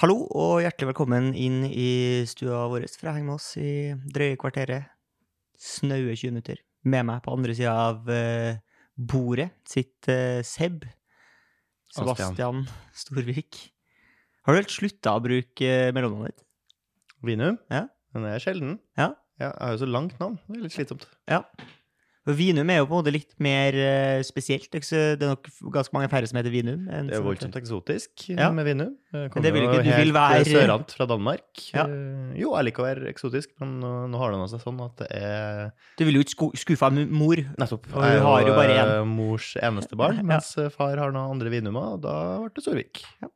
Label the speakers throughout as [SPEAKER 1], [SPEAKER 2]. [SPEAKER 1] Hallo og hjertelig velkommen inn i stua vår for å henge med oss i drøye kvarteret. Snaue 20 minutter. Med meg på andre sida av eh, bordet sitter eh, Seb. Sebastian
[SPEAKER 2] Sebastian.
[SPEAKER 1] Storvik. Har du helt slutta å bruke eh, mellomnavnet ditt?
[SPEAKER 2] Vinum?
[SPEAKER 1] Ja.
[SPEAKER 2] Den er sjelden.
[SPEAKER 1] Ja.
[SPEAKER 2] Jeg har jo så langt navn. Det er litt slitsomt.
[SPEAKER 1] For Vinum er jo på en måte litt mer eh, spesielt. Det er ikke så- det er nok ganske mange færre som heter Vinum. enn
[SPEAKER 2] Det er
[SPEAKER 1] som heter-
[SPEAKER 2] voldsomt eksotisk
[SPEAKER 1] Ja.
[SPEAKER 2] med Vinum. Jeg kommer
[SPEAKER 1] det vil
[SPEAKER 2] jo
[SPEAKER 1] ikke- du vil
[SPEAKER 2] helt, eh,
[SPEAKER 1] være-
[SPEAKER 2] sørant fra Danmark.
[SPEAKER 1] Ja.
[SPEAKER 2] Eh, Jo, jeg liker å være eksotisk, men nå, nå har det nå seg sånn at det er
[SPEAKER 1] Du ville jo ikke sko- skuffa mu- mor.
[SPEAKER 2] Nettopp.
[SPEAKER 1] Og vi har jo bare
[SPEAKER 2] eh,
[SPEAKER 1] én.
[SPEAKER 2] mors eneste barn, mens eh, far har noen andre Vinumer, og da ble det Storvik.
[SPEAKER 1] Ja.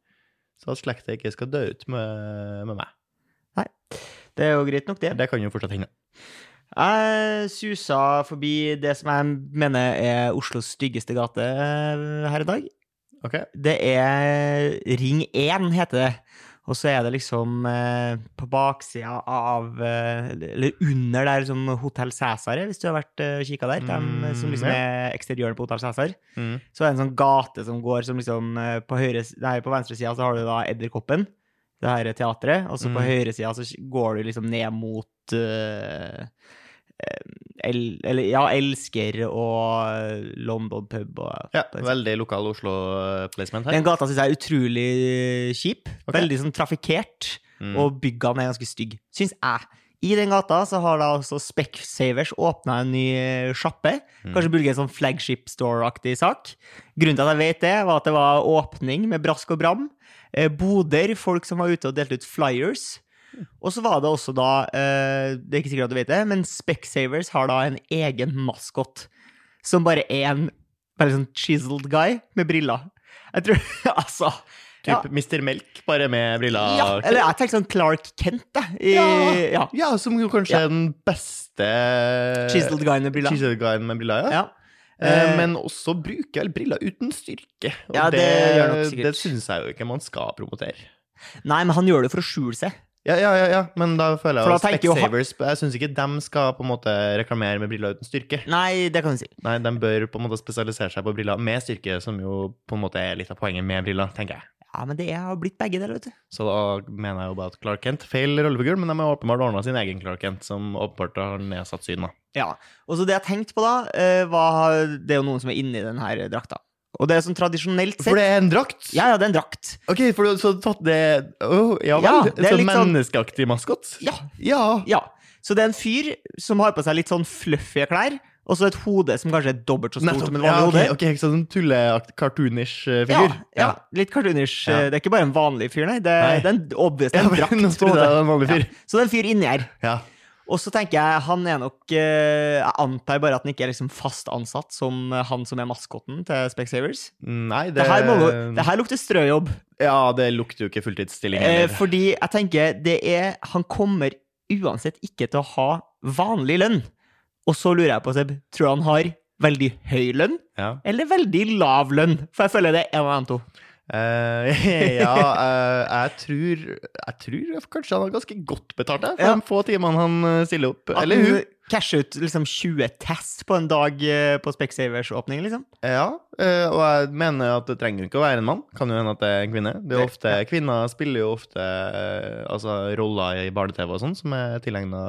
[SPEAKER 2] Så at slekta ikke skal dø ut med, med meg.
[SPEAKER 1] Det er jo greit nok, det.
[SPEAKER 2] Det kan jo fortsatt hende.
[SPEAKER 1] Jeg susa forbi det som jeg mener er Oslos styggeste gate eh, her i dag.
[SPEAKER 2] Ok,
[SPEAKER 1] Det er Ring 1, heter det. Og så er det liksom eh, på baksida av eh, Eller under der liksom Hotell Cæsar er, hvis du har vært eh, og kikka der. De som liksom
[SPEAKER 2] Mm,
[SPEAKER 1] er eksteriøren på Hotell Cæsar.
[SPEAKER 2] Mm.
[SPEAKER 1] Så er det en sånn gate som går som liksom eh, På, høyre, nei, på venstre sida så har du da Edderkoppen, det her teatret. Og så på
[SPEAKER 2] Mm.
[SPEAKER 1] høyre sida så går du liksom ned mot eh, eh, el, eller, ja, Elsker og London pub og
[SPEAKER 2] Ja,
[SPEAKER 1] på en-
[SPEAKER 2] veldig lokal Oslo-placement her.
[SPEAKER 1] Den gata syns jeg er utrolig eh, kjip.
[SPEAKER 2] Ok.
[SPEAKER 1] Veldig sånn trafikkert.
[SPEAKER 2] Mm.
[SPEAKER 1] Og byggene er ganske stygge, syns jeg. I den gata så har da også Specsavers åpna en ny eh, sjappe.
[SPEAKER 2] Mm.
[SPEAKER 1] Kanskje burde det en sånn flagship store-aktig sak. Grunnen til at jeg vet det, var at det var åpning med brask og bram. Eh, boder, folk som var ute og delte ut flyers. Og så var det også da, eh, det er ikke sikkert at du vet det, men Specsavers har da en egen maskott. Som bare er en bare sånn chiseled guy med briller. Jeg tror Altså. ja.
[SPEAKER 2] Typ Mr. Melk, bare med briller.
[SPEAKER 1] Ja, eller jeg tenkte sånn Clark Kent, da. I, ja.
[SPEAKER 2] Ja, som jo kanskje er den beste
[SPEAKER 1] Chiseled guy med briller.
[SPEAKER 2] chiseled guyen med briller. Ja.
[SPEAKER 1] Ja.
[SPEAKER 2] Eh,
[SPEAKER 1] Eh,
[SPEAKER 2] Men også bruker vel briller uten styrke. Og
[SPEAKER 1] Ja, det gjør nok sikkert.
[SPEAKER 2] det syns jeg jo ikke man skal promotere.
[SPEAKER 1] Nei, men han gjør det for å skjule seg.
[SPEAKER 2] Ja, ja, ja, ja. men da føler
[SPEAKER 1] For da
[SPEAKER 2] jeg at
[SPEAKER 1] tenker jo han-
[SPEAKER 2] Specsavers Jeg syns ikke dem skal på en måte reklamere med briller uten styrke.
[SPEAKER 1] Nei, det kan du si.
[SPEAKER 2] Nei, de bør på en måte spesialisere seg på briller med styrke, som jo på en måte er litt av poenget med briller, tenker jeg.
[SPEAKER 1] Ja, men det har blitt begge deler, vet du.
[SPEAKER 2] Så da mener jeg jo bare at Clark Kent feil rollefigur, men de har åpenbart ordna sin egen Clark Kent, som åpenbart har nedsatt syn, da.
[SPEAKER 1] Ja. Og så det jeg tenkte på, da, eh, var Det er jo noen som er inni den her drakta. Og det er sånn tradisjonelt sett
[SPEAKER 2] For det er en drakt!
[SPEAKER 1] Ja, ja, det er en drakt.
[SPEAKER 2] Ok, for du har så tatt det Åh, Ja
[SPEAKER 1] Ja,
[SPEAKER 2] vel,
[SPEAKER 1] det er
[SPEAKER 2] så
[SPEAKER 1] litt sånn-
[SPEAKER 2] menneskeaktig maskott?
[SPEAKER 1] Ja.
[SPEAKER 2] Ja.
[SPEAKER 1] ja. Så det er en fyr som har på seg litt sånn fluffy klær, og så et hode som kanskje er dobbelt så stort
[SPEAKER 2] Nettopp.
[SPEAKER 1] som et
[SPEAKER 2] Ja,
[SPEAKER 1] vanlig hode.
[SPEAKER 2] ok, ok, ikke sånn tulleakt, cartoonish eh,
[SPEAKER 1] Ja,
[SPEAKER 2] figur?
[SPEAKER 1] ja, litt cartoonish. eh,
[SPEAKER 2] Ja.
[SPEAKER 1] Det er ikke bare en vanlig fyr, nei. Det,
[SPEAKER 2] Nei.
[SPEAKER 1] det er en obvious det
[SPEAKER 2] Ja,
[SPEAKER 1] er en
[SPEAKER 2] men
[SPEAKER 1] drakt. på
[SPEAKER 2] Nå
[SPEAKER 1] en
[SPEAKER 2] trodde jeg det
[SPEAKER 1] måte.
[SPEAKER 2] var en vanlig fyr.
[SPEAKER 1] Så det er en fyr inni her.
[SPEAKER 2] Ja.
[SPEAKER 1] Og så tenker jeg han er nok eh, Jeg antar bare at han ikke er liksom fast ansatt som eh, han som er maskotten til Specsavers.
[SPEAKER 2] Nei, det,
[SPEAKER 1] Det her, må, det her lukter strøjobb.
[SPEAKER 2] Ja, det lukter jo ikke fulltidsstilling
[SPEAKER 1] Eh,
[SPEAKER 2] heller.
[SPEAKER 1] fordi jeg tenker det er Han kommer uansett ikke til å ha vanlig lønn. Og så lurer jeg på, Seb, tror du han har veldig høy lønn
[SPEAKER 2] Ja.
[SPEAKER 1] eller veldig lav lønn? For jeg føler det er en av de to.
[SPEAKER 2] Eh, ja, eh, jeg tror Jeg tror kanskje han har ganske godt betalt, jeg, for
[SPEAKER 1] Ja.
[SPEAKER 2] de få timene han eh, stiller opp.
[SPEAKER 1] At
[SPEAKER 2] Eller hun.
[SPEAKER 1] han Casher ut liksom 20 test på en dag eh, på Specsavers-åpning, liksom.
[SPEAKER 2] Ja, eh, og jeg mener at det trenger jo ikke å være en mann. Kan jo hende at det er en kvinne. Det er jo ofte, Kvinner spiller jo ofte eh, altså, roller i barne-TV og sånn som er tilegna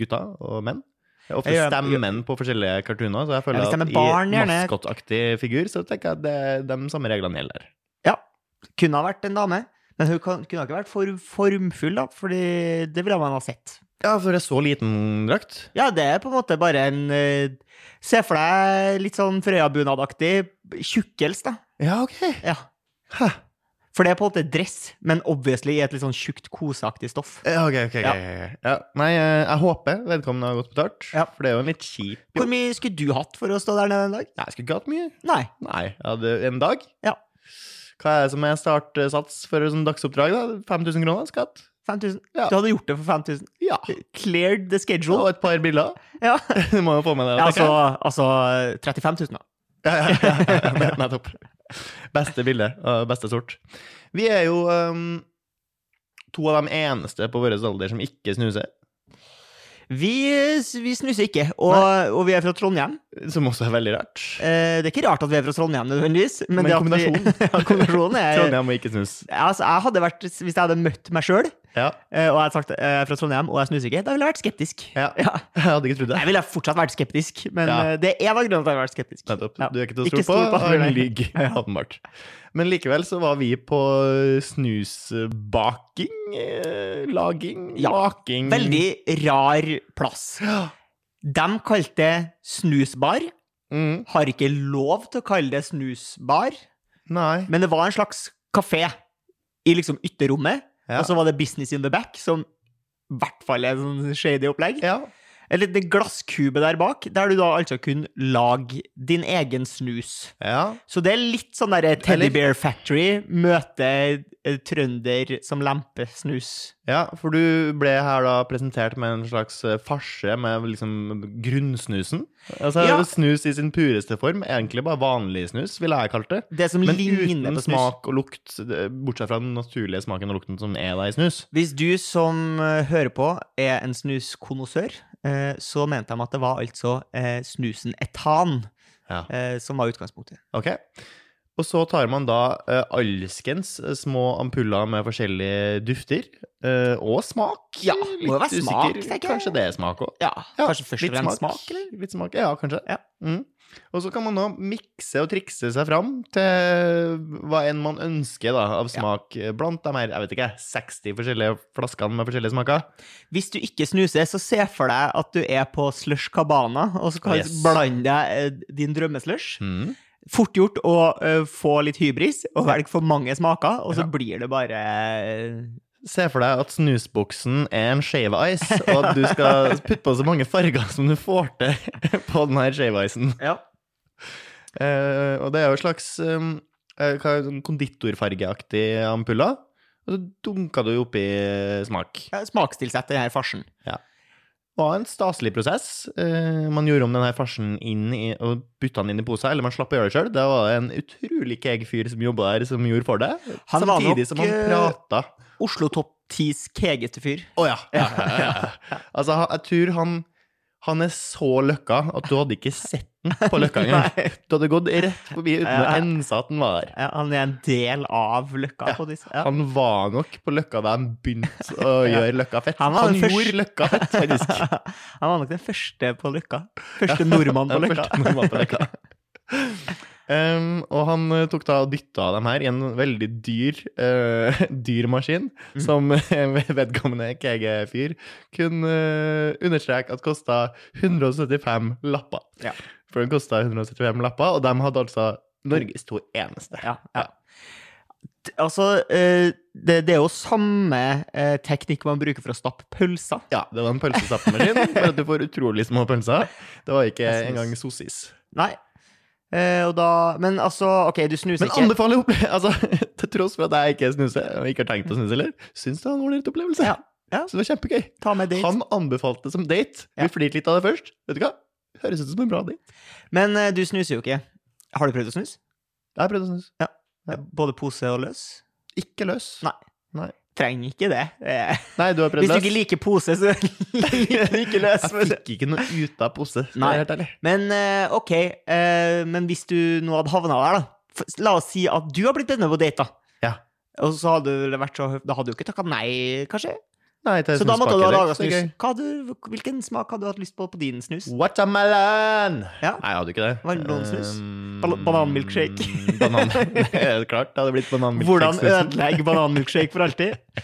[SPEAKER 2] gutter og menn. Det er Ofte
[SPEAKER 1] Jeg gjør-
[SPEAKER 2] stemmen på forskjellige cartooner, så jeg
[SPEAKER 1] Ja,
[SPEAKER 2] føler
[SPEAKER 1] hvis de er
[SPEAKER 2] at
[SPEAKER 1] barn,
[SPEAKER 2] i
[SPEAKER 1] gjerne.
[SPEAKER 2] maskottaktig figur så tenker jeg at det er de samme reglene gjelder.
[SPEAKER 1] Kunne ha vært en dame, men hun kan, kunne ha ikke vært for formfull, da, fordi det ville man ha sett.
[SPEAKER 2] Ja, for det er så liten drakt.
[SPEAKER 1] Ja, det er på en måte bare en eh, Se for deg litt sånn Frøya-bunadaktig tjukkels, da.
[SPEAKER 2] Ja, ok.
[SPEAKER 1] Ja.
[SPEAKER 2] Hæ.
[SPEAKER 1] For det er på en måte dress, men obviously i et litt sånn tjukt, koseaktig stoff.
[SPEAKER 2] Ja, ok, ok, ok,
[SPEAKER 1] Ja.
[SPEAKER 2] ok. Ja. Nei, eh, jeg håper vedkommende har godt betalt,
[SPEAKER 1] Ja.
[SPEAKER 2] for det er jo en litt kjip
[SPEAKER 1] Hvor mye skulle du hatt for å stå der nede en dag?
[SPEAKER 2] Nei, jeg skulle ikke hatt mye.
[SPEAKER 1] Nei.
[SPEAKER 2] Nei, jeg hadde en dag.
[SPEAKER 1] Ja.
[SPEAKER 2] Hva er det som er startsats for et sånt dagsoppdrag? da? 5000 kroner? Skatt?
[SPEAKER 1] 5000.
[SPEAKER 2] Ja.
[SPEAKER 1] Du hadde gjort det for 5000.
[SPEAKER 2] Ja.
[SPEAKER 1] Cleared the schedule.
[SPEAKER 2] Og et par briller.
[SPEAKER 1] Ja.
[SPEAKER 2] Du må jo få med deg
[SPEAKER 1] Ja,
[SPEAKER 2] det.
[SPEAKER 1] altså,
[SPEAKER 2] tenker
[SPEAKER 1] altså 35
[SPEAKER 2] jeg.
[SPEAKER 1] 000, da.
[SPEAKER 2] Ja, ja, ja, ja. Nettopp. Beste bilde og beste sort. Vi er jo um, ehm, to av de eneste på vår alder som ikke snuser.
[SPEAKER 1] Vi, vi snuser ikke, og, og vi er fra Trondheim.
[SPEAKER 2] Som også er veldig rart.
[SPEAKER 1] Eh, det er ikke rart at vi er fra Trondheim, nødvendigvis. Men,
[SPEAKER 2] Men
[SPEAKER 1] det at vi- ja, kombinasjonen er
[SPEAKER 2] Trondheim og ikke snus.
[SPEAKER 1] altså, jeg hadde vært, Hvis jeg hadde møtt meg sjøl,
[SPEAKER 2] Ja.
[SPEAKER 1] og jeg hadde sagt eh, jeg er fra Trondheim og jeg snuser ikke, da ville jeg vært skeptisk.
[SPEAKER 2] Ja.
[SPEAKER 1] Ja.
[SPEAKER 2] Jeg hadde ikke trodd det.
[SPEAKER 1] Jeg ville fortsatt vært skeptisk, men
[SPEAKER 2] Ja.
[SPEAKER 1] eh, det er en av grunnene til at jeg har vært skeptisk.
[SPEAKER 2] Nettopp.
[SPEAKER 1] Ja.
[SPEAKER 2] Du er ikke til å
[SPEAKER 1] Ikke
[SPEAKER 2] stole
[SPEAKER 1] stol
[SPEAKER 2] på,
[SPEAKER 1] på
[SPEAKER 2] og
[SPEAKER 1] andre,
[SPEAKER 2] han
[SPEAKER 1] nei.
[SPEAKER 2] lyver. Åpenbart. Men likevel så var vi på eh, snusbaking, eh, laging,
[SPEAKER 1] Ja.
[SPEAKER 2] making
[SPEAKER 1] Veldig rar plass.
[SPEAKER 2] Ja.
[SPEAKER 1] De kalte det snusbar.
[SPEAKER 2] Mm.
[SPEAKER 1] Har ikke lov til å kalle det snusbar,
[SPEAKER 2] Nei.
[SPEAKER 1] men det var en slags kafé i liksom ytterrommet.
[SPEAKER 2] Ja.
[SPEAKER 1] Og så var det Business in the Back, som i hvert fall er et sånn shady opplegg.
[SPEAKER 2] ja.
[SPEAKER 1] En liten glasskube der bak, der du da altså kunne lage din egen snus.
[SPEAKER 2] ja.
[SPEAKER 1] Så det er litt sånn derre Teddy
[SPEAKER 2] Eller-
[SPEAKER 1] Bear Factory møter eh, trønder som lemper snus.
[SPEAKER 2] Ja, for du ble her da presentert med en slags eh, farse med liksom grunnsnusen. Altså
[SPEAKER 1] Ja.
[SPEAKER 2] snus i sin pureste form, egentlig bare vanlig snus, ville jeg kalt det.
[SPEAKER 1] Det som
[SPEAKER 2] Men
[SPEAKER 1] ligner
[SPEAKER 2] uten
[SPEAKER 1] på snus.
[SPEAKER 2] smak og lukt, det- bortsett fra den naturlige smaken og lukten som er da i snus.
[SPEAKER 1] Hvis du som eh, hører på er en snuskonnoissør, eh, så mente de at det var altså eh, snusen etan
[SPEAKER 2] Ja.
[SPEAKER 1] eh, som var utgangspunktet.
[SPEAKER 2] Ok. Og så tar man da eh, alskens eh, små ampuller med forskjellige dufter. eh, og smak.
[SPEAKER 1] Ja, må jo være smak, tenker jeg.
[SPEAKER 2] Kanskje det er smak òg.
[SPEAKER 1] Ja,
[SPEAKER 2] Ja,
[SPEAKER 1] kanskje først og
[SPEAKER 2] litt
[SPEAKER 1] fremst smak, eller?
[SPEAKER 2] Litt smak, ja, kanskje.
[SPEAKER 1] Ja.
[SPEAKER 2] Mm. Og så kan man nå mikse og trikse seg fram til hva enn man ønsker da, av smak blant de her jeg vet ikke, 60 forskjellige flaskene med forskjellige smaker.
[SPEAKER 1] Hvis du ikke snuser, så se for deg at du er på Slush Cabana, og så kan du
[SPEAKER 2] Yes.
[SPEAKER 1] blande deg eh, din drømmeslush.
[SPEAKER 2] Mm.
[SPEAKER 1] Fort gjort å eh, få litt hybris og velge for mange smaker, og så
[SPEAKER 2] Ja.
[SPEAKER 1] blir det bare eh,
[SPEAKER 2] Se for deg at snusbuksen er en shave ice, og at du skal putte på så mange farger som du får til på den her shave icen.
[SPEAKER 1] Ja.
[SPEAKER 2] Eh, og det er jo en slags um, eh, hva- sånn konditorfargeaktig ampuller. Og så dunka du oppi smak.
[SPEAKER 1] ja Smakstilsett denne farsen.
[SPEAKER 2] Det var en staselig prosess. Eh, man gjorde om den her farsen inn i, og bytta den inn i poser, eller man slapp å gjøre det sjøl. Det var det en utrolig keeg fyr som jobba her, som gjorde for det.
[SPEAKER 1] Han var
[SPEAKER 2] Samtidig
[SPEAKER 1] nok,
[SPEAKER 2] som han
[SPEAKER 1] eh,
[SPEAKER 2] prata.
[SPEAKER 1] Oslo topp 10s kegete fyr.
[SPEAKER 2] Å ja. Ja, ja, ja, ja. Altså, han- jeg tror han han er så løkka at du hadde ikke sett den på løkka engang.
[SPEAKER 1] Nei.
[SPEAKER 2] Du hadde gått rett forbi uten å
[SPEAKER 1] Ja.
[SPEAKER 2] ense at den var der.
[SPEAKER 1] Ja, han er en del av Løkka. på disse. Ja.
[SPEAKER 2] Han var nok på Løkka da han begynte å gjøre Løkka fett.
[SPEAKER 1] Han
[SPEAKER 2] Han,
[SPEAKER 1] var den første-
[SPEAKER 2] gjorde Løkka fett, faktisk.
[SPEAKER 1] Han var nok den første på Løkka. Første nordmann på
[SPEAKER 2] Den
[SPEAKER 1] Løkka.
[SPEAKER 2] første nordmannen på Løkka. Um, og han eh, tok da og dytta dem her i en veldig dyr, eh, dyr maskin,
[SPEAKER 1] Mm.
[SPEAKER 2] som eh, vedkommende KG-fyr kunne eh, understreke at kosta 175 lapper.
[SPEAKER 1] Ja.
[SPEAKER 2] For den kosta 175 lapper, og de hadde altså Norges to eneste.
[SPEAKER 1] Ja, ja. T- Altså, eh, det, det er jo samme eh, teknikk man bruker for å stappe pølser.
[SPEAKER 2] Ja, det var en pølsestappmaskin, bare at du får utrolig små pølser. Det var ikke
[SPEAKER 1] Jeg synes-
[SPEAKER 2] engang sossis.
[SPEAKER 1] Nei. Eh, og da, men altså, OK, du snuser
[SPEAKER 2] Men
[SPEAKER 1] ikke.
[SPEAKER 2] anbefaler opple- altså, til tross for at jeg ikke snuser, og ikke har tenkt å snuse heller, syns det var en ålreit opplevelse.
[SPEAKER 1] Ja. Ja.
[SPEAKER 2] Så det var kjempegøy.
[SPEAKER 1] Ta med date.
[SPEAKER 2] Han anbefalte det som date.
[SPEAKER 1] Ja.
[SPEAKER 2] Vi flirte litt av det først. Vet du hva? Høres ut som en bra date.
[SPEAKER 1] Men eh, du snuser jo ikke. Har du prøvd å snuse?
[SPEAKER 2] Jeg har prøvd å snuse. Ja.
[SPEAKER 1] Både pose og løs?
[SPEAKER 2] Ikke løs.
[SPEAKER 1] Nei. Trenger ikke det. Eh,
[SPEAKER 2] Nei, du har prøvd
[SPEAKER 1] hvis du
[SPEAKER 2] løs.
[SPEAKER 1] ikke liker pose, så liker du ikke løs.
[SPEAKER 2] jeg fikk ikke noe ut av pose. skal
[SPEAKER 1] Nei.
[SPEAKER 2] jeg være helt ærlig.
[SPEAKER 1] Men eh, ok, eh, men hvis du nå hadde havna der, da. f- La oss si at du har blitt bedt med på date, da.
[SPEAKER 2] Ja.
[SPEAKER 1] Og så hadde du vel vært så høf- Da hadde du ikke takka nei, kanskje?
[SPEAKER 2] Nei, til
[SPEAKER 1] Så da måtte du ha
[SPEAKER 2] snuspakke,
[SPEAKER 1] laga
[SPEAKER 2] det er
[SPEAKER 1] snus.
[SPEAKER 2] gøy.
[SPEAKER 1] Hva hadde du, hvilken smak hadde du hatt lyst på på din snus?
[SPEAKER 2] Watermelon!
[SPEAKER 1] Ja.
[SPEAKER 2] Nei, jeg hadde ikke det.
[SPEAKER 1] Vaniljeblomsnus?
[SPEAKER 2] Um,
[SPEAKER 1] Bal- bananmilkshake?
[SPEAKER 2] banan. Det er klart, det hadde blitt
[SPEAKER 1] Hvordan
[SPEAKER 2] bananmilkshake.
[SPEAKER 1] ødelegge bananmilkshake for alltid?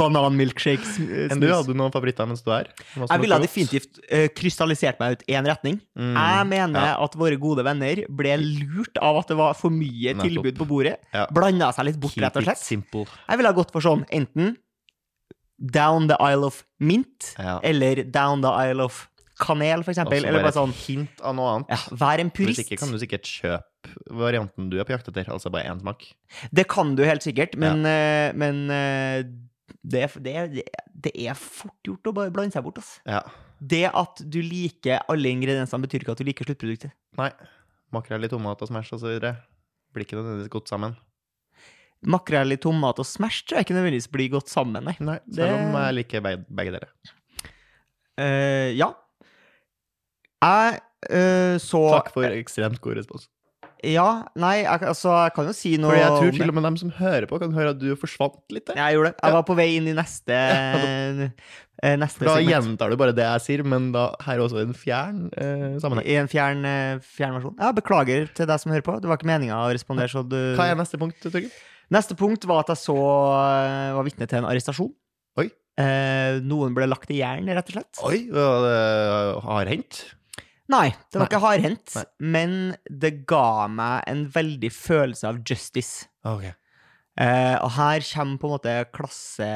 [SPEAKER 1] Bananmilkshake-snus.
[SPEAKER 2] Enn du, hadde du noen favoritter mens du er?
[SPEAKER 1] Jeg ville ha definitivt eh, krystallisert meg ut én retning.
[SPEAKER 2] Mm.
[SPEAKER 1] Jeg mener at våre gode venner ble lurt av at det var for mye
[SPEAKER 2] Nettopp.
[SPEAKER 1] tilbud på bordet.
[SPEAKER 2] Ja.
[SPEAKER 1] Blanda seg litt bort, rett og slett.
[SPEAKER 2] Simple.
[SPEAKER 1] Jeg ville ha gått for sånn enten Down the Isle of Mint
[SPEAKER 2] Ja.
[SPEAKER 1] eller Down the Isle of Kanel, for Eh, eksempel.
[SPEAKER 2] Altså,
[SPEAKER 1] eller bare
[SPEAKER 2] et
[SPEAKER 1] sånn
[SPEAKER 2] hint av noe annet.
[SPEAKER 1] ja, Vær en
[SPEAKER 2] Hvis
[SPEAKER 1] purist.
[SPEAKER 2] ikke kan du sikkert kjøpe varianten du er på jakt etter, altså bare én smak.
[SPEAKER 1] Det kan du helt sikkert, men, eh, men eh, det, er- det, er- det er fort gjort å bare blande seg bort. Ass.
[SPEAKER 2] Ja.
[SPEAKER 1] Det at du liker alle ingrediensene, betyr ikke at du liker sluttproduktet.
[SPEAKER 2] Nei. Makrell i tomat og Smash og så videre. Blir ikke nødvendigvis godt sammen.
[SPEAKER 1] Makrell i tomat og Smash tror jeg ikke nødvendigvis blir godt sammen, nei.
[SPEAKER 2] Nei,
[SPEAKER 1] det-
[SPEAKER 2] Selv om jeg liker beg- begge dere.
[SPEAKER 1] Eh, ja. Jeg eh, så
[SPEAKER 2] Takk for ekstremt god respons.
[SPEAKER 1] Ja, nei, jeg, altså, jeg kan jo si noe
[SPEAKER 2] Fordi jeg
[SPEAKER 1] om
[SPEAKER 2] tror
[SPEAKER 1] det.
[SPEAKER 2] til og med dem som hører på, kan høre at du forsvant litt der.
[SPEAKER 1] Ja, Jeg gjorde det. Jeg
[SPEAKER 2] Ja.
[SPEAKER 1] var på vei inn i neste eh, Neste
[SPEAKER 2] Da
[SPEAKER 1] segment.
[SPEAKER 2] gjentar du bare det jeg sier, men da her også i en fjern eh, sammenheng.
[SPEAKER 1] I en fjern, eh, fjern versjon. Ja, beklager til deg som hører på. Det var ikke meninga å respondere. Så du...
[SPEAKER 2] Hva er neste punkt, Torgeir?
[SPEAKER 1] Neste punkt var at jeg så eh, var vitne til en arrestasjon.
[SPEAKER 2] Oi.
[SPEAKER 1] Eh, noen ble lagt i jern, rett og slett.
[SPEAKER 2] Oi, hva det har hendt?
[SPEAKER 1] Nei, det var
[SPEAKER 2] Nei.
[SPEAKER 1] ikke hardhendt,
[SPEAKER 2] Nei.
[SPEAKER 1] men det ga meg en veldig følelse av justice.
[SPEAKER 2] Ok.
[SPEAKER 1] Eh, og her kommer på en måte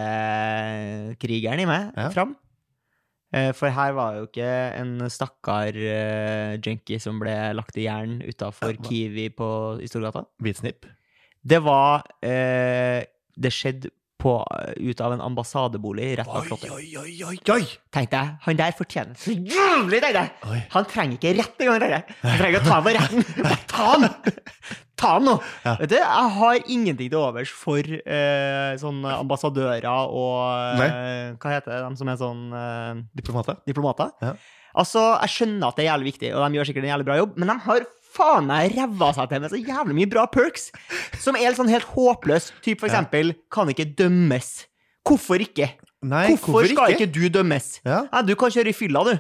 [SPEAKER 1] klassekrigeren i meg
[SPEAKER 2] Ja.
[SPEAKER 1] fram. Eh, for her var jo ikke en stakkar eh, junkie som ble lagt i jern utafor
[SPEAKER 2] Ja, hva-
[SPEAKER 1] Kiwi på, i Storgata.
[SPEAKER 2] Hvitsnipp?
[SPEAKER 1] Det var eh, Det skjedde på, ut av en ambassadebolig rett bak Slottet.
[SPEAKER 2] oi, oi, oi, oi!
[SPEAKER 1] Tenkte jeg, han der fortjener så jævlig, tenkte jeg!
[SPEAKER 2] Oi.
[SPEAKER 1] Han trenger ikke rett engang, tenkte jeg. Han trenger ikke å ta ham for retten. Bare ta han! Ta han nå!
[SPEAKER 2] Ja.
[SPEAKER 1] Vet du, jeg har ingenting til overs for eh, sånne ambassadører og eh, Hva heter det, de som er sånn eh,
[SPEAKER 2] Diplomater?
[SPEAKER 1] diplomater?
[SPEAKER 2] Ja.
[SPEAKER 1] Altså, jeg skjønner at det er jævlig viktig, og de gjør sikkert en jævlig bra jobb, men de har faen meg ræva seg til med så jævlig mye bra perks, som er litt sånn helt håpløs. Typ for
[SPEAKER 2] Ja.
[SPEAKER 1] eksempel, kan ikke dømmes. Hvorfor ikke?
[SPEAKER 2] Nei,
[SPEAKER 1] hvorfor, skal ikke du dømmes?
[SPEAKER 2] Ja,
[SPEAKER 1] Nei, du kan kjøre i fylla, du.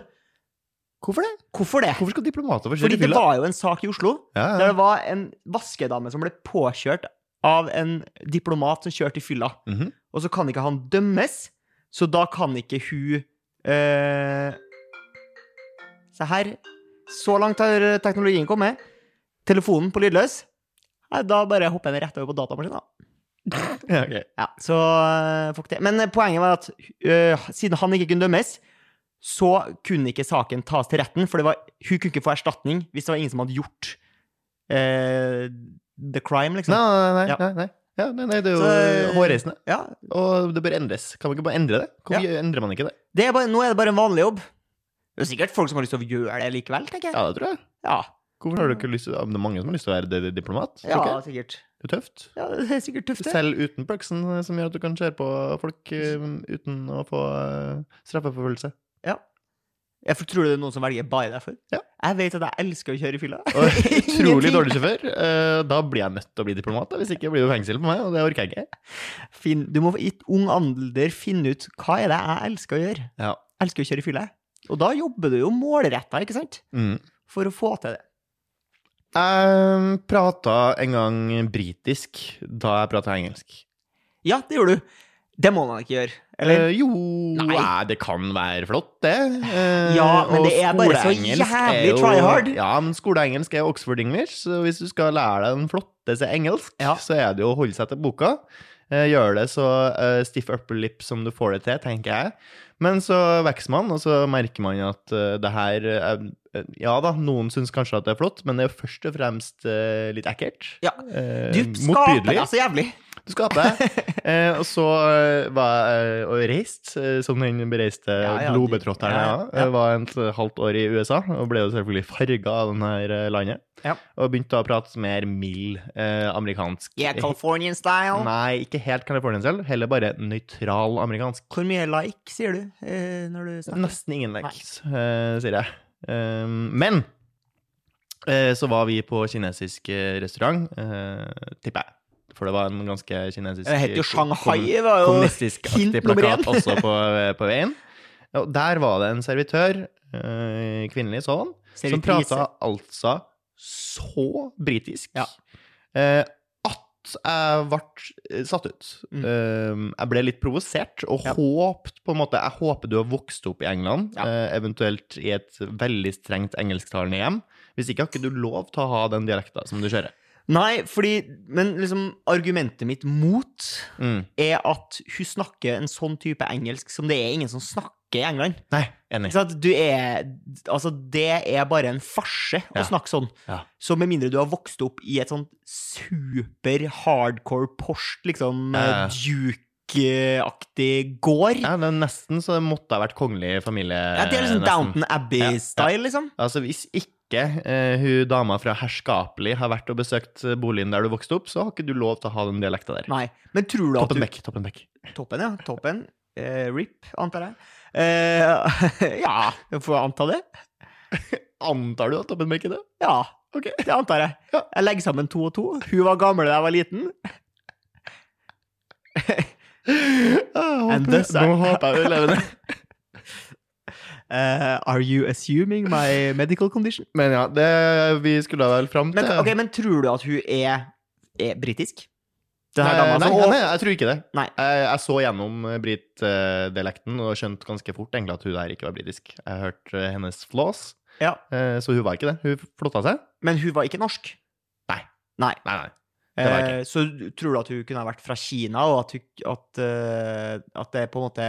[SPEAKER 2] hvorfor det?
[SPEAKER 1] Hvorfor det?
[SPEAKER 2] Hvorfor skal diplomater få
[SPEAKER 1] Fordi
[SPEAKER 2] kjøre
[SPEAKER 1] det
[SPEAKER 2] fylla?
[SPEAKER 1] var jo en sak i Oslo
[SPEAKER 2] Ja,
[SPEAKER 1] der
[SPEAKER 2] ja.
[SPEAKER 1] det var en vaskedame som ble påkjørt av en diplomat som kjørte i fylla.
[SPEAKER 2] Mhm.
[SPEAKER 1] Og så kan ikke han dømmes, så da kan ikke hun eh, Se her. Så langt har teknologien kommet. Telefonen på lydløs. Nei, da bare hopper jeg den rett over på datamaskinen. da.
[SPEAKER 2] ja, ok.
[SPEAKER 1] Ja, så øh, fuck det. Men øh, poenget var at øh, siden han ikke kunne dømmes, så kunne ikke saken tas til retten, for det var, hun kunne ikke få erstatning hvis det var ingen som hadde gjort øh, the crime, liksom.
[SPEAKER 2] Nei, nei, nei,
[SPEAKER 1] Ja.
[SPEAKER 2] nei, nei. Ja, nei, nei, det er jo
[SPEAKER 1] Så-
[SPEAKER 2] hårreisende.
[SPEAKER 1] Ja,
[SPEAKER 2] Og det bør endres. Kan man ikke bare endre det? Hvorfor endrer man ikke det?
[SPEAKER 1] det er bare, nå er det bare en vanlig jobb. Det er sikkert folk som har lyst til å gjøre det likevel, tenker jeg.
[SPEAKER 2] Ja, det tror jeg.
[SPEAKER 1] Ja,
[SPEAKER 2] Hvorfor har du ikke lyst til ja, men Det er mange som har lyst til å være di- diplomat. tror
[SPEAKER 1] ja,
[SPEAKER 2] ikke jeg.
[SPEAKER 1] sikkert.
[SPEAKER 2] Det er tøft.
[SPEAKER 1] Ja, det er sikkert tøft, det.
[SPEAKER 2] Selv uten perksen, eh, som gjør at du kan kjøre på folk eh, uten å få eh, straffeforfølgelse.
[SPEAKER 1] Jeg for- tror det er noen som velger bare derfor.
[SPEAKER 2] Ja.
[SPEAKER 1] Jeg vet at jeg elsker å kjøre i fylla.
[SPEAKER 2] Og utrolig
[SPEAKER 1] Ingenting.
[SPEAKER 2] dårlig sjåfør. eh, Da blir jeg nødt til å bli diplomat. Da. Hvis ikke blir det jo fengsel på meg, og det orker jeg ikke.
[SPEAKER 1] Finn, du må i ung alder finne ut hva er det jeg elsker å gjøre.
[SPEAKER 2] Ja.
[SPEAKER 1] elsker å kjøre fylle. Og da jobber du jo målretta, ikke sant?
[SPEAKER 2] Mm.
[SPEAKER 1] For å få til det.
[SPEAKER 2] Jeg prata en gang britisk da jeg prata engelsk.
[SPEAKER 1] Ja, det gjorde du. Det må man ikke gjøre. Eller?
[SPEAKER 2] Eh, jo
[SPEAKER 1] Nei.
[SPEAKER 2] eh, det kan være flott, det. Eh,
[SPEAKER 1] Ja, men
[SPEAKER 2] og
[SPEAKER 1] det er bare så
[SPEAKER 2] skoleengelsk er
[SPEAKER 1] jævlig
[SPEAKER 2] jo-
[SPEAKER 1] try hard.
[SPEAKER 2] Ja, men skoleengelsk er jo Oxford English, så hvis du skal lære deg den flotteste engelsk,
[SPEAKER 1] Ja.
[SPEAKER 2] så er det jo å holde seg til boka. Eh, Gjør det så eh, stiff upper lip som du får det til, tenker jeg. Men så vokser man, og så merker man at eh, det her eh, eh, Ja da, noen syns kanskje at det er flott, men det er jo først og fremst eh, litt ekkelt.
[SPEAKER 1] Ja.
[SPEAKER 2] Eh,
[SPEAKER 1] Du skaper altså.
[SPEAKER 2] motbydelig.
[SPEAKER 1] deg så jævlig.
[SPEAKER 2] Du skaper deg. Eh, og så eh, var jeg eh, og reist, eh, som den bereiste
[SPEAKER 1] Ja, ja,
[SPEAKER 2] globetrotteren
[SPEAKER 1] ja, ja.
[SPEAKER 2] jeg var. Jeg var et halvt år i USA og ble jo selvfølgelig farga av det her eh, landet.
[SPEAKER 1] Ja.
[SPEAKER 2] Og begynte da å prate mer mild eh, amerikansk.
[SPEAKER 1] Yeah, Californian style.
[SPEAKER 2] Nei, ikke helt California selv, heller bare nøytral amerikansk.
[SPEAKER 1] Hvor mye like sier du eh, når du snakker?
[SPEAKER 2] Nesten ingen likes, eh, sier jeg. Um, men eh, så var vi på kinesisk eh, restaurant, eh, tipper jeg. For det var en ganske kinesisk
[SPEAKER 1] Det heter jo Shanghai.
[SPEAKER 2] kom-
[SPEAKER 1] Det var jo
[SPEAKER 2] kommunistisk-aktig
[SPEAKER 1] hint nummer
[SPEAKER 2] plakat
[SPEAKER 1] én.
[SPEAKER 2] også på, på veien. Og der var det en servitør, eh, kvinnelig sådan, som prata altså så britisk
[SPEAKER 1] Ja.
[SPEAKER 2] eh, at jeg ble satt ut.
[SPEAKER 1] Mm.
[SPEAKER 2] Eh, jeg ble litt provosert og
[SPEAKER 1] Ja.
[SPEAKER 2] håpt på en måte Jeg håper du har vokst opp i England,
[SPEAKER 1] Ja.
[SPEAKER 2] eh, eventuelt i et veldig strengt engelsktalende hjem. Hvis ikke har ikke du lov til å ha den dialekta som du kjører.
[SPEAKER 1] Nei, fordi Men liksom, argumentet mitt mot
[SPEAKER 2] Mm.
[SPEAKER 1] er at hun snakker en sånn type engelsk som det er ingen som snakker i England.
[SPEAKER 2] Nei, enig.
[SPEAKER 1] Ikke sant? Du er, altså, det er bare en farse
[SPEAKER 2] Ja.
[SPEAKER 1] å snakke sånn.
[SPEAKER 2] Ja.
[SPEAKER 1] Så med mindre du har vokst opp i et sånt super hardcore Porsche, liksom
[SPEAKER 2] Ja, ja.
[SPEAKER 1] eh, Duke-aktig gård ja.
[SPEAKER 2] Ja, det er nesten så det måtte ha vært kongelig familie.
[SPEAKER 1] Det er liksom
[SPEAKER 2] nesten.
[SPEAKER 1] Downton
[SPEAKER 2] Ja, ja.
[SPEAKER 1] Abbey-style, liksom.
[SPEAKER 2] Altså, hvis ikke eh, hun dama fra Herskapelig har vært og besøkt eh, boligen der du vokste opp, så har ikke du lov til å ha den dialekta der.
[SPEAKER 1] Nei. Men tror du at
[SPEAKER 2] Toppen
[SPEAKER 1] du
[SPEAKER 2] Beck. Toppen Beck.
[SPEAKER 1] Toppen, ja. Toppen. eh, RIP, antar jeg. Eh, ja, jeg får anta det.
[SPEAKER 2] Antar du at Tobben merker det?
[SPEAKER 1] Ja,
[SPEAKER 2] Ok.
[SPEAKER 1] det antar jeg.
[SPEAKER 2] Ja.
[SPEAKER 1] Jeg legger sammen to og to. Hun var gammel da jeg var liten.
[SPEAKER 2] And
[SPEAKER 1] thus I-
[SPEAKER 2] Ah, Nå håper jeg du lever det.
[SPEAKER 1] Eh, are you assuming my medical condition?
[SPEAKER 2] Men ja, det vi skulle da vel fram til
[SPEAKER 1] Men, ok, men tror du at hun er, er britisk? Den her
[SPEAKER 2] Eh,
[SPEAKER 1] dama
[SPEAKER 2] nei,
[SPEAKER 1] som-
[SPEAKER 2] nei, nei, jeg tror ikke det.
[SPEAKER 1] Nei.
[SPEAKER 2] Jeg, jeg så gjennom eh, Brit-dialekten og skjønte ganske fort egentlig at hun der ikke var britisk. Jeg hørte eh, hennes flaws,
[SPEAKER 1] Ja.
[SPEAKER 2] eh, så hun var ikke det. Hun flotta seg.
[SPEAKER 1] Men hun var ikke norsk.
[SPEAKER 2] Nei, nei. Det var jeg
[SPEAKER 1] Eh, så du- tror du at hun kunne ha vært fra Kina, og at, hun, at, eh, at det er på en måte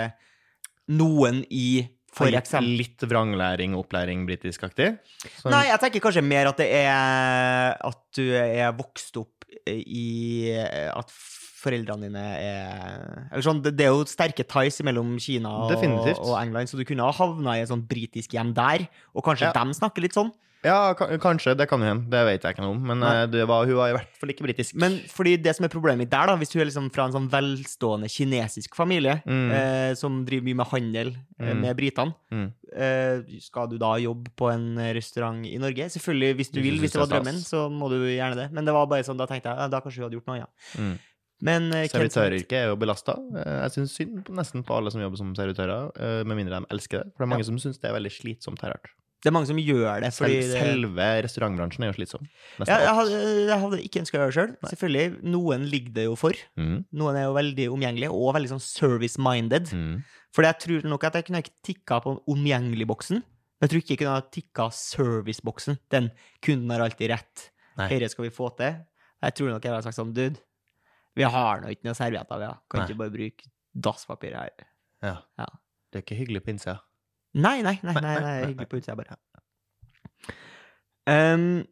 [SPEAKER 1] noen i for
[SPEAKER 2] Litt-
[SPEAKER 1] eksempel
[SPEAKER 2] Litt vranglæring og opplæring britisk-aktig. Sånn-
[SPEAKER 1] Nei, jeg tenker kanskje mer at det er at du er vokst opp i At foreldrene dine er Eller sånn, det, det er jo sterke ties mellom Kina og,
[SPEAKER 2] Definitivt.
[SPEAKER 1] og England, så du kunne ha havna i et sånt britisk hjem der, og kanskje
[SPEAKER 2] Ja.
[SPEAKER 1] dem snakker litt sånn.
[SPEAKER 2] Ja, ka- kanskje. Det kan jo hende. Det vet jeg ikke noe om. Men
[SPEAKER 1] Nei.
[SPEAKER 2] eh, det var, hun var i hvert fall ikke britisk.
[SPEAKER 1] Men fordi det som er problemet mitt der, da, hvis du er liksom fra en sånn velstående kinesisk familie
[SPEAKER 2] Mm.
[SPEAKER 1] eh, som driver mye med handel eh,
[SPEAKER 2] Mm.
[SPEAKER 1] med britene,
[SPEAKER 2] Mm.
[SPEAKER 1] eh, skal du da jobbe på en restaurant i Norge? Selvfølgelig, hvis du
[SPEAKER 2] Hvis du
[SPEAKER 1] vil,
[SPEAKER 2] synes
[SPEAKER 1] hvis det var
[SPEAKER 2] det er
[SPEAKER 1] drømmen,
[SPEAKER 2] stas.
[SPEAKER 1] så må du gjerne det. Men det var bare sånn, da tenkte jeg ja, da kanskje hun hadde gjort noe annet.
[SPEAKER 2] Mm.
[SPEAKER 1] Men eh, Kent Smith-
[SPEAKER 2] Servitøryrket er jo belasta. Jeg syns synd på nesten på alle som jobber som servitører, eh, med mindre de elsker det. For det er mange som syns det er veldig slitsomt her. Art.
[SPEAKER 1] det er mange som gjør det. Fordi
[SPEAKER 2] Sel-
[SPEAKER 1] det-
[SPEAKER 2] Selve restaurantbransjen er jo slitsom. Nesten
[SPEAKER 1] ja, jeg,
[SPEAKER 2] alt.
[SPEAKER 1] hadde, eh, jeg hadde ikke ønska å gjøre det sjøl. Selv. Selvfølgelig, noen ligger det jo for.
[SPEAKER 2] Mm,
[SPEAKER 1] Noen er jo veldig omgjengelige, og veldig sånn service-minded.
[SPEAKER 2] mm.
[SPEAKER 1] For jeg tror nok at jeg kunne ikke tikka på omgjengelig-boksen. Men jeg tror ikke jeg kunne ha tikka service-boksen. Den kunden har alltid rett.
[SPEAKER 2] Nei.
[SPEAKER 1] Dette skal vi få til. Jeg tror nok jeg ville sagt sånn, dude, vi har nå ikke noen servietter, vi har. Kan
[SPEAKER 2] Nei.
[SPEAKER 1] ikke bare bruke dasspapir her.
[SPEAKER 2] ja.
[SPEAKER 1] Ja.
[SPEAKER 2] Det er ikke hyggelig på innsida.
[SPEAKER 1] Nei, nei, nei, nei,
[SPEAKER 2] Nei, nei,
[SPEAKER 1] nei
[SPEAKER 2] nei,
[SPEAKER 1] hyggelig på utsida, bare. Ehm,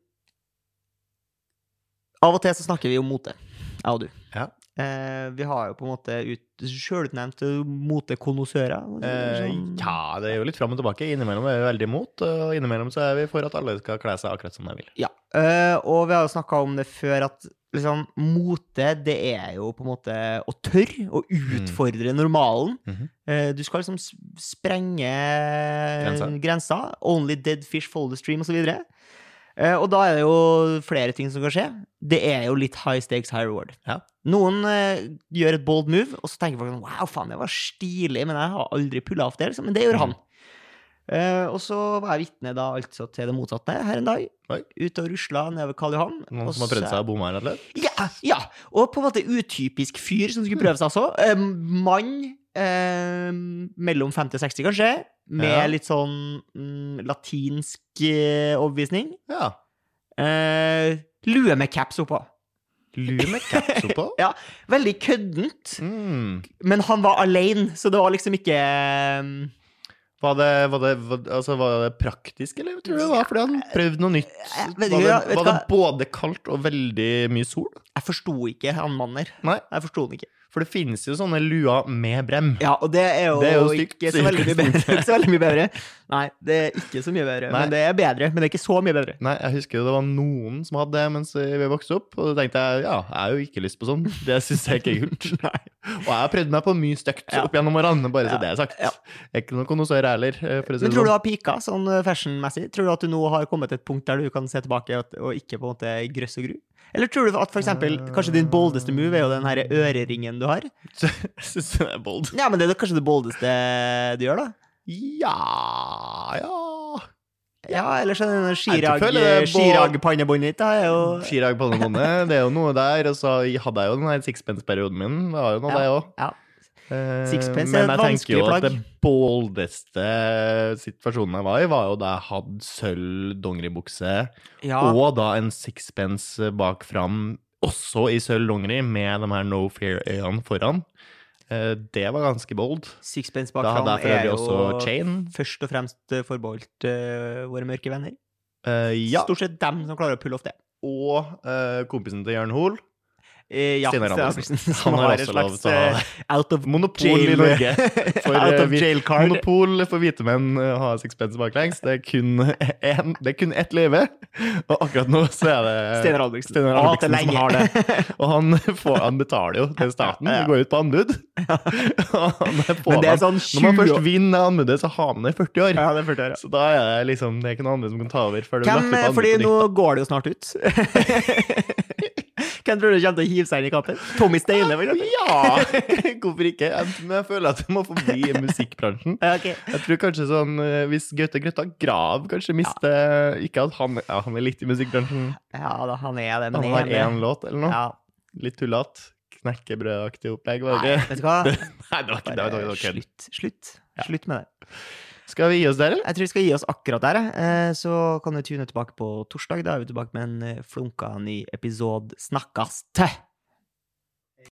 [SPEAKER 1] av og til så snakker vi om mote, jeg og du.
[SPEAKER 2] Ja.
[SPEAKER 1] Eh, vi har jo på en måte ut, sjølutnevnte motekonnissører.
[SPEAKER 2] Eh,
[SPEAKER 1] sånn-
[SPEAKER 2] ja, det er jo litt fram og tilbake. Innimellom er vi veldig imot, og innimellom så er vi for at alle skal kle seg akkurat som de vil.
[SPEAKER 1] Ja. eh, og vi har jo snakka om det før, at liksom, mote, det er jo på en måte å tørre å utfordre normalen.
[SPEAKER 2] Mm. Mhm.
[SPEAKER 1] Eh, du skal liksom s- sprenge
[SPEAKER 2] Grensa.
[SPEAKER 1] grensa. Only dead fish follow the stream, osv. Uh, og da er det jo flere ting som kan skje. Det er jo litt high stakes, high reward.
[SPEAKER 2] Ja.
[SPEAKER 1] Noen eh, gjør et bold move, og så tenker folk sånn Wow, faen, det var stilig, men jeg har aldri pulla off det, liksom. Men det
[SPEAKER 2] Mm.
[SPEAKER 1] gjør han. Eh, og så var jeg vitne da altså til det motsatte her en dag.
[SPEAKER 2] Oi.
[SPEAKER 1] Ute og rusla nedover Karl Johan.
[SPEAKER 2] Noen
[SPEAKER 1] og
[SPEAKER 2] som har prøvd
[SPEAKER 1] så-
[SPEAKER 2] seg å bomme her, rett og slett?
[SPEAKER 1] Ja, ja! Og på en måte utypisk fyr som
[SPEAKER 2] Mm.
[SPEAKER 1] skulle prøve seg også. Eh, mann eh, mellom 50 og 60, kanskje. Med
[SPEAKER 2] Ja.
[SPEAKER 1] litt sånn mm, latinsk eh, overbevisning.
[SPEAKER 2] Ja.
[SPEAKER 1] Eh, lue med caps oppå.
[SPEAKER 2] Lue med caps oppå.
[SPEAKER 1] Ja, veldig køddent.
[SPEAKER 2] Mm.
[SPEAKER 1] Men han var aleine, så det var liksom ikke eh,
[SPEAKER 2] Var det, var, det, var, altså, var det praktisk, eller tror du det var fordi han prøvde noe nytt?
[SPEAKER 1] Jeg
[SPEAKER 2] Var
[SPEAKER 1] vet
[SPEAKER 2] det,
[SPEAKER 1] ikke, ja, vet
[SPEAKER 2] var
[SPEAKER 1] du
[SPEAKER 2] det både kaldt og veldig mye sol?
[SPEAKER 1] Jeg forsto ikke han mannen der.
[SPEAKER 2] Nei.
[SPEAKER 1] Jeg forsto han ikke.
[SPEAKER 2] For det finnes jo sånne luer med brem.
[SPEAKER 1] Ja, og det er jo,
[SPEAKER 2] Det er jo stygt,
[SPEAKER 1] ikke, så
[SPEAKER 2] sier
[SPEAKER 1] veldig mye bedre, ikke så veldig mye bedre. Nei, det er ikke så mye bedre.
[SPEAKER 2] Nei.
[SPEAKER 1] Men det er bedre, men det er ikke så mye bedre.
[SPEAKER 2] Nei, jeg husker jo det var noen som hadde det mens vi vokste opp, og da tenkte jeg ja, jeg har jo ikke lyst på sånn. Det syns jeg ikke er kult. og jeg har prøvd meg på mye stygt
[SPEAKER 1] Ja.
[SPEAKER 2] opp gjennom årene, bare
[SPEAKER 1] Ja.
[SPEAKER 2] så det er sagt.
[SPEAKER 1] Ja.
[SPEAKER 2] Jeg er ikke noen konnoissør heller, eh, for å si
[SPEAKER 1] Men
[SPEAKER 2] det
[SPEAKER 1] tror du
[SPEAKER 2] sånn.
[SPEAKER 1] har pika sånn eh, fashionmessig? Tror du at du nå har kommet til et punkt der du kan se tilbake og, og ikke på en måte grøss og gru? Eller tror du at for eksempel, kanskje din boldeste move er jo den her øreringen du har?
[SPEAKER 2] sånn. Jeg syns den er bold.
[SPEAKER 1] Ja, men det er kanskje det boldeste du gjør, da?
[SPEAKER 2] Ja, ja
[SPEAKER 1] Ja, eller så er det den
[SPEAKER 2] Jeg føler det
[SPEAKER 1] Chirag-
[SPEAKER 2] er bold-
[SPEAKER 1] Chirag-pannebåndet ditt, da, er jo
[SPEAKER 2] Chirag Palmebåndet, det er jo noe der. Og så hadde jeg jo den her sixpence-perioden min. Det var jo noe,
[SPEAKER 1] Ja,
[SPEAKER 2] det òg.
[SPEAKER 1] ja. Sixpence er
[SPEAKER 2] men
[SPEAKER 1] et
[SPEAKER 2] jeg tenker jo
[SPEAKER 1] vanskelig
[SPEAKER 2] at det boldeste situasjonen jeg var i, var jo da jeg hadde sølv dongeribukse
[SPEAKER 1] ja.
[SPEAKER 2] og da en sixpence bak fram, også i sølv dongeri, med de her No Fear-øyene foran. Eh, Det var ganske bold.
[SPEAKER 1] Sixpence
[SPEAKER 2] Da
[SPEAKER 1] bakfram
[SPEAKER 2] hadde jeg for
[SPEAKER 1] er
[SPEAKER 2] øvrig
[SPEAKER 1] jo
[SPEAKER 2] også chain.
[SPEAKER 1] først og fremst eh, forbeholdt eh, våre mørke venner.
[SPEAKER 2] Eh, Ja,
[SPEAKER 1] Stort sett dem som klarer å pulle off det.
[SPEAKER 2] og eh, kompisen til Jørn Hoel.
[SPEAKER 1] Eh, ja,
[SPEAKER 2] Steinar
[SPEAKER 1] Steinar
[SPEAKER 2] Andersen.
[SPEAKER 1] Andersen. som
[SPEAKER 2] Han har
[SPEAKER 1] et
[SPEAKER 2] også lov
[SPEAKER 1] slags,
[SPEAKER 2] til å ha
[SPEAKER 1] eh, out of
[SPEAKER 2] monopol i
[SPEAKER 1] jail-
[SPEAKER 2] Norge. For,
[SPEAKER 1] Out
[SPEAKER 2] eh,
[SPEAKER 1] of
[SPEAKER 2] vi-
[SPEAKER 1] jail card.
[SPEAKER 2] Monopol for hvite menn eh, har sixpence baklengs. Det er kun, en, det er kun ett løyve, og akkurat nå så er det
[SPEAKER 1] Steinar Albrigtsen.
[SPEAKER 2] Steinar
[SPEAKER 1] Å,
[SPEAKER 2] Albrigtsen
[SPEAKER 1] til lenge.
[SPEAKER 2] som har det. Og han, får, han betaler jo til staten. Det går ut på anbud. Og han er på
[SPEAKER 1] Men det er
[SPEAKER 2] han.
[SPEAKER 1] sånn
[SPEAKER 2] Når man
[SPEAKER 1] 20
[SPEAKER 2] først
[SPEAKER 1] år-
[SPEAKER 2] vinner anbudet, så har man det i 40 år.
[SPEAKER 1] Ja, det følte jeg. ja.
[SPEAKER 2] Så da er det liksom Det er ikke noen andre som kan ta over før det
[SPEAKER 1] Hvem, eh,
[SPEAKER 2] blir lagt ut på
[SPEAKER 1] fordi
[SPEAKER 2] anbud
[SPEAKER 1] nå
[SPEAKER 2] på nytt.
[SPEAKER 1] går det jo snart ut. Hvem tror du kommer til å hive seg inn i kampen? Tommy Steine, for eksempel?
[SPEAKER 2] Ja! Hvorfor ikke? Jeg, men jeg føler at det må forbli i musikkbransjen.
[SPEAKER 1] Ja, ok.
[SPEAKER 2] Jeg tror kanskje sånn eh, Hvis Gaute Grøtta Grav kanskje mister Ikke at han ja, Han er litt i musikkbransjen.
[SPEAKER 1] ja da, han er det. men
[SPEAKER 2] Han har
[SPEAKER 1] er det.
[SPEAKER 2] én låt eller noe.
[SPEAKER 1] Ja.
[SPEAKER 2] Litt tullete. Knekkebrødaktig opplegg, var
[SPEAKER 1] Nei,
[SPEAKER 2] det ikke?
[SPEAKER 1] vet du hva?
[SPEAKER 2] Nei, det var ikke det. var- det
[SPEAKER 1] Bare
[SPEAKER 2] var kødd.
[SPEAKER 1] Slutt. Slutt. Slutt med det.
[SPEAKER 2] Skal vi gi oss der, eller?
[SPEAKER 1] Jeg tror vi skal gi oss akkurat der. jeg. Eh, Så kan du tune tilbake på torsdag. Da er vi tilbake med en eh, flunka ny episode. Snakkast!